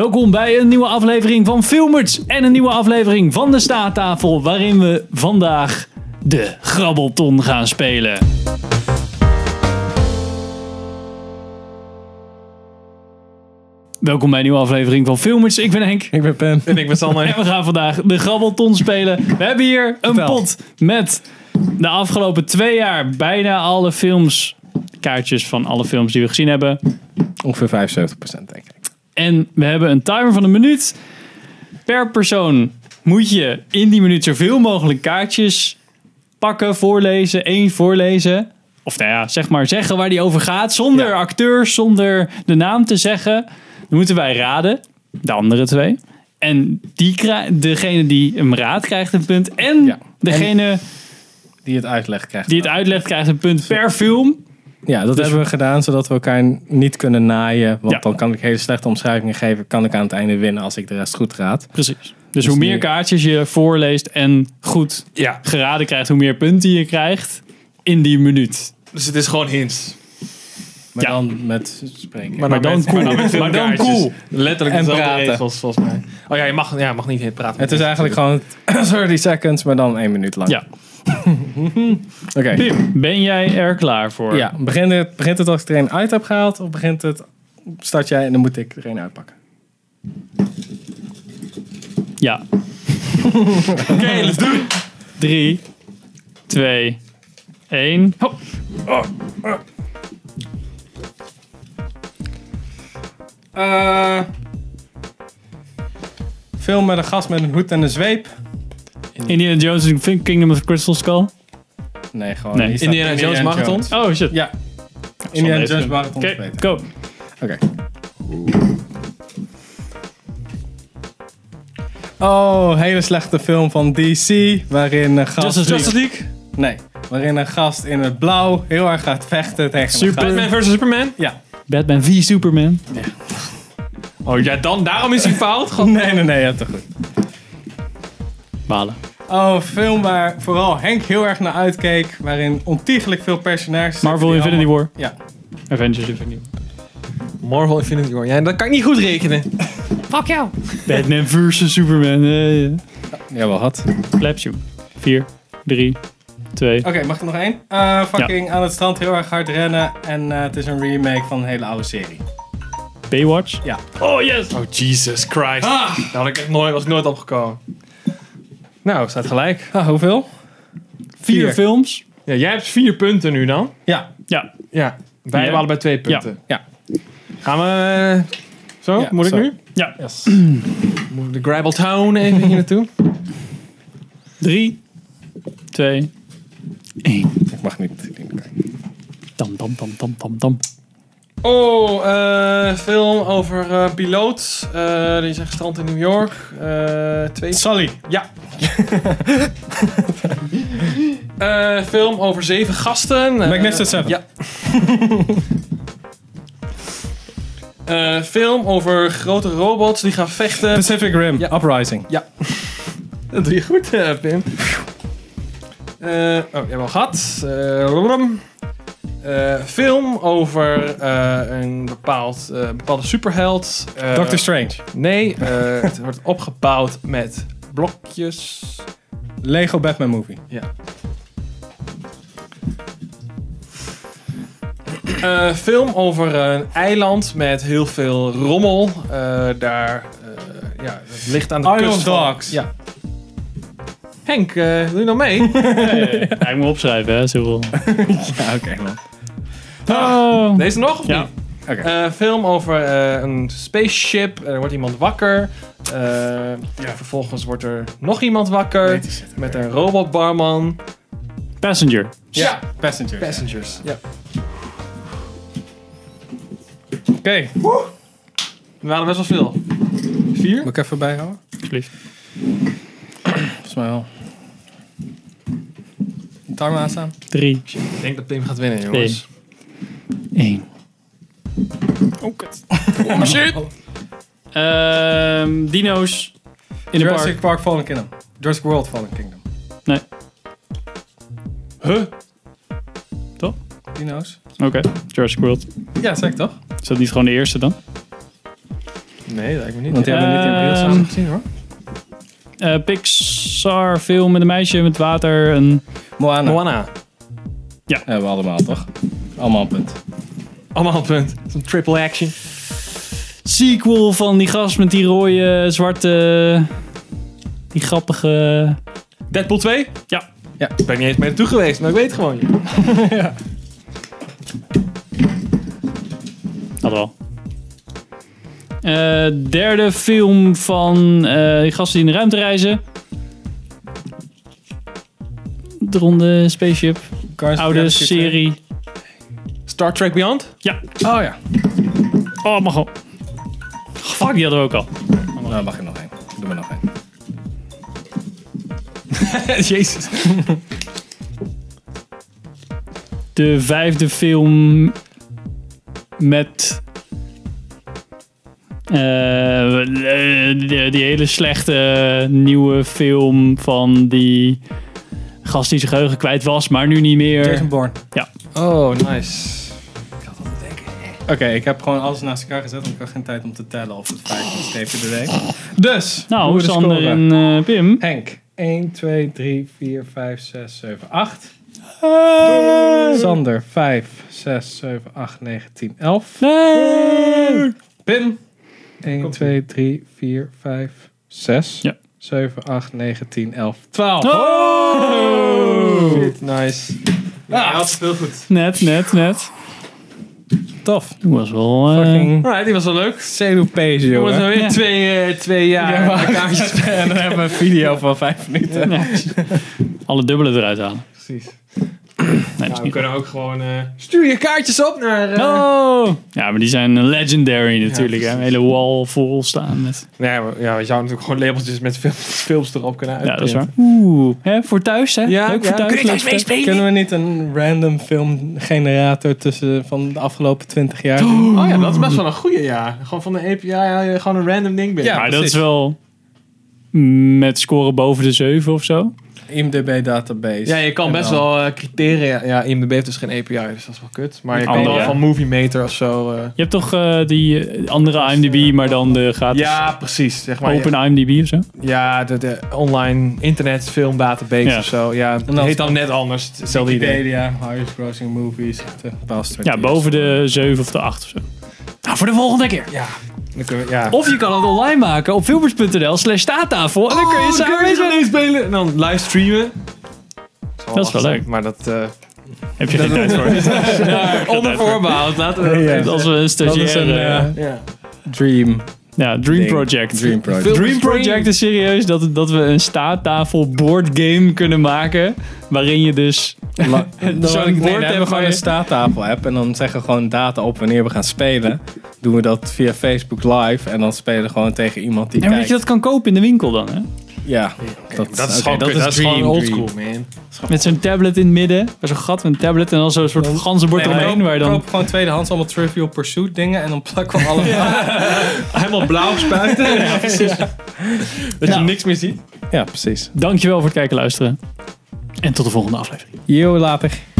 Welkom bij een nieuwe aflevering van Filmers en een nieuwe aflevering van de Staattafel, waarin we vandaag de grabbelton gaan spelen. Welkom bij een nieuwe aflevering van Filmers. Ik ben Henk. Ik ben Pen. En ik ben En Sander. we gaan vandaag de grabbelton spelen. We hebben hier een Vertel. pot met de afgelopen twee jaar bijna alle films, kaartjes van alle films die we gezien hebben. Ongeveer 75% denk ik. En we hebben een timer van een minuut. Per persoon moet je in die minuut zoveel mogelijk kaartjes pakken, voorlezen, één voorlezen. Of nou ja, zeg maar zeggen waar die over gaat. Zonder acteurs, zonder de naam te zeggen. Dan moeten wij raden, de andere twee. En die kri- degene die hem raadt krijgt een punt. En Ja. degene Die het uitleg krijgt. die het uitlegt krijgt een punt per film. Ja, dat hebben we gedaan zodat we elkaar niet kunnen naaien. Want Ja. dan kan ik hele slechte omschrijvingen geven. Kan ik aan het einde winnen als ik de rest goed raad. Precies. Dus, hoe meer die- kaartjes je voorleest en goed Ja, geraden krijgt, hoe meer punten je krijgt in die minuut. dus het is gewoon hints. Maar Ja. dan met spreken. Maar dan met- cool. maar dan met Maar dan filmkaartjes. cool. Letterlijk En dezelfde praten. regels, volgens mij. Oh ja, je mag, ja, je mag niet hit praten. het is eigenlijk gewoon 30 seconds, maar dan één minuut lang. Ja. Oké. Pim, ben jij er klaar voor? Ja, begint het, begint het als ik er een uit heb gehaald? Of begint het, start jij en dan moet ik er een uitpakken? Ja. Oké, let's do it. 3, 2, 1. Hop. Eh, film met een gast met een hoed en een zweep. Indiana Jones and the Kingdom of the Crystal Skull. Nee, gewoon. Nee. hier staat Indiana Jones Marathon. Oh shit. Ja. Sander Indiana heeft Jones hem. Marathon is Oké, beter. go. Oké. Oh, hele slechte film van DC. Waarin een gast. Justice Justice League. Nee. Waarin een gast in het blauw heel erg gaat vechten tegen een Super. gast. Batman vs Superman. Ja. Batman v Superman. Oh ja, dan, daarom is hij fout. God. Nee, nee, nee, ja, te goed. Balen. Oh, een film waar vooral Henk heel erg naar uitkeek. Waarin ontiegelijk veel personages. zitten Marvel die Infinity allemaal- War. Ja. Avengers Infinity War. Marvel Infinity War. Ja, dat kan ik niet goed rekenen. Fuck jou. Batman versus Superman. eh, ja. Ja, wel had. Oké, Claps you. 4, 3, 2. mag ik nog één? Eh, fucking aan het strand heel erg hard rennen. En eh, het is een remake van een hele oude serie. Baywatch. Ja. Oh yes. Oh, Jesus Christ. Daar had ik echt nooit, was ik nooit opgekomen. Nou, staat gelijk. Ah, hoeveel? Vier, vier. films. Ja, jij hebt vier punten nu dan. Ja. Ja. Ja. Wij Ja. hebben allebei twee punten. Ja. Gaan we... eh, zo, Ja, moet ik zo. nu? Ja. Moet ik de Gravel Town even hier naartoe? 3, 2, 1. Ik mag niet. kijken. Tam, tam, tam, tam, tam, tam. Oh, eh, film over eh, piloot. Eh, die is echt strand in New York. Eh, twee... Sally. Ja. Eh, film over zeven gasten. Eh, Magnificent Seven. Ja. Eh, film over grote robots die gaan vechten. Pacific Rim. Ja. Uprising. Dat doe je goed, eh, Pim. Eh, oh, die hebben we al gehad. Eh, blablabla. Eh, film over eh, een bepaald, eh, bepaalde superheld. Eh, Doctor Strange. Nee, eh, het wordt opgebouwd met blokjes. Lego Batman Movie. Ja. Eh, film over een eiland met heel veel rommel. Eh, daar, eh, ja, het ligt aan de Isle kust. of van- Dogs. Ja. Henk, eh wil je nou mee? Ja, ik moet opschrijven, hè, zoveel. Ja, oké man. Oh. Deze nog? Of Ja. niet? Oké. Eh, film over eh, een spaceship. Eh, Er wordt iemand wakker. Eh, Vervolgens wordt er nog iemand wakker. Met een robotbarman. Passenger. Ja. Passenger. Passengers. Ja. Oké. Moet We waren best wel veel. Vier? ik even bijhouden? Alsjeblieft. Volgens mij wel. Timer aanstaan. 3, Ik denk dat Pim gaat winnen, jongens. 1. Oh, kut. Oh, shit. Ehm dino's. In de Jurassic park. Park. Fallen Kingdom. Jurassic World Fallen Kingdom. Nee. Huh? Toch? Dino's. Oké. Jurassic World. Ja, zeg ik toch? Is dat niet gewoon de eerste dan? Nee, lijkt me niet. Want die hebben we niet in Ehm, april samen. samen gezien hoor. Eh, Pixar film met een meisje met water. Een... Moana. Moana. Hebben we allemaal, toch? Allemaal een punt. Allemaal een punt. Zo'n triple action. sequel van die gast met die rode, zwarte, die grappige... Deadpool 2? Ja, Ik ben niet eens mee naartoe geweest, maar ik weet het gewoon. joh. dat wel. Eh, derde film van eh, die gasten die in de ruimte reizen. De ronde spaceship. Cars Oude Jurassic serie. Star Trek Beyond? Ja. Oh ja. Oh, mag al. Fuck, die hadden we ook al. Nou, mag je nog één. Doe maar nog één. Jezus. De vijfde film met... eh, die, die hele slechte nieuwe film van die gast die zijn geheugen kwijt was, maar nu niet meer. Jason Bourne. Oh, nice. Ik had altijd denken. Oké, ik heb gewoon alles naast elkaar gezet, want ik had geen tijd om te tellen of het vijf of streepje deed. Dus, Nou, hoe hoe we de Sander scoren? en eh, Pim. Henk. 1, 2, 3, 4, 5, 6, 7, 8. Ah. Sander, 5, 6, 7, 8, 9, 10, 11. Nee. Pim. 1, 2, 3, 4, 5, 6, Ja. 7, 8, 9, 10, 11, 12. Oh! Shit, nice. Ah. Ja, dat is heel goed. Net, net, net. Tof. Dat was wel... eh, Fucking Alright, die was wel leuk. Celopese, We moeten jongen. weer Ja. twee, eh, twee jaar Ja, maar- aan de kaartjes En dan hebben we een video van 5 minuten. nee. Alle dubbelen eruit halen. Precies. Nee, dat is Nou, we niet kunnen ook gewoon... eh, stuur je kaartjes op naar... eh, Oh! Ja, maar die zijn legendary natuurlijk. Ja, hè. Een hele wall vol staan met... Nee, maar, ja, je zou natuurlijk gewoon labeltjes met films, films erop kunnen Ja, dat is uitprinten. waar. Oeh. Hè, voor thuis, hè? Ja, Leuk ja. voor thuis. Kun je thuis leuk voor thuis. Kunnen we niet een random filmgenerator tussen van de afgelopen 20 jaar doen? Oh ja, dat is best wel een goede, ja. Gewoon van de API haal je gewoon een random ding binnen. Ja. Maar dat is precies. wel met scoren boven de 7 of zo. IMDb database. Ja, je kan En best dan- wel eh, criteria... Ja, IMDb heeft dus geen API, dus dat is wel kut. Maar je kan Andere. wel van Movie Meter of zo... eh, Je hebt toch eh, die eh, andere IMDb, maar dan de gratis ja, precies. Zeg maar, open IMDb of zo? Ja, de, de online internet film database Ja. of zo. Ja, dat dan- heet dan net anders. Hetzelfde idee. Wikipedia, highest grossing movies. eh, De past Ja, boven de 7 of de 8 of zo. Nou, voor de volgende keer. Ja. Dan kunnen we, ja. Of je kan het online maken op filmers.nl slash staattafel. En dan Oh, kun je samen... spelen. En dan livestreamen. Dat is wel leuk. Maar dat... eh Heb je geen tijd voor. onder voorbehoud. Laten we dat Ja. even- Als we een Dat stagiair... is een eh, eh, Ja. dream. ja, Dream ding. Project. Dream project. Film- Dream Project is serieus dat, dat we een staattafel board game kunnen maken. Waarin je dus. La- bord Zo'n hebben nee, dan hebben waar we gewoon je- een staattafel app en dan zeggen we gewoon data op wanneer we gaan spelen. Doen we dat via Facebook Live en dan spelen we gewoon tegen iemand die En weet kijkt. je dat kan kopen in de winkel dan, hè? Ja, Dat, is oké, gewoon, dat is dream, gewoon old dream. school, man. Met zo'n tablet in het midden. Met zo'n gat met een tablet en dan zo'n soort ganzenbord Nee, maar eromheen. Waar je dan. koop gewoon tweedehands allemaal Trivial Pursuit dingen en dan plakken we allemaal. ja. Helemaal blauw spuiten. Dat Nou. je niks meer ziet. ja, precies. Dankjewel voor het kijken en luisteren. En tot de volgende aflevering. Yo, later.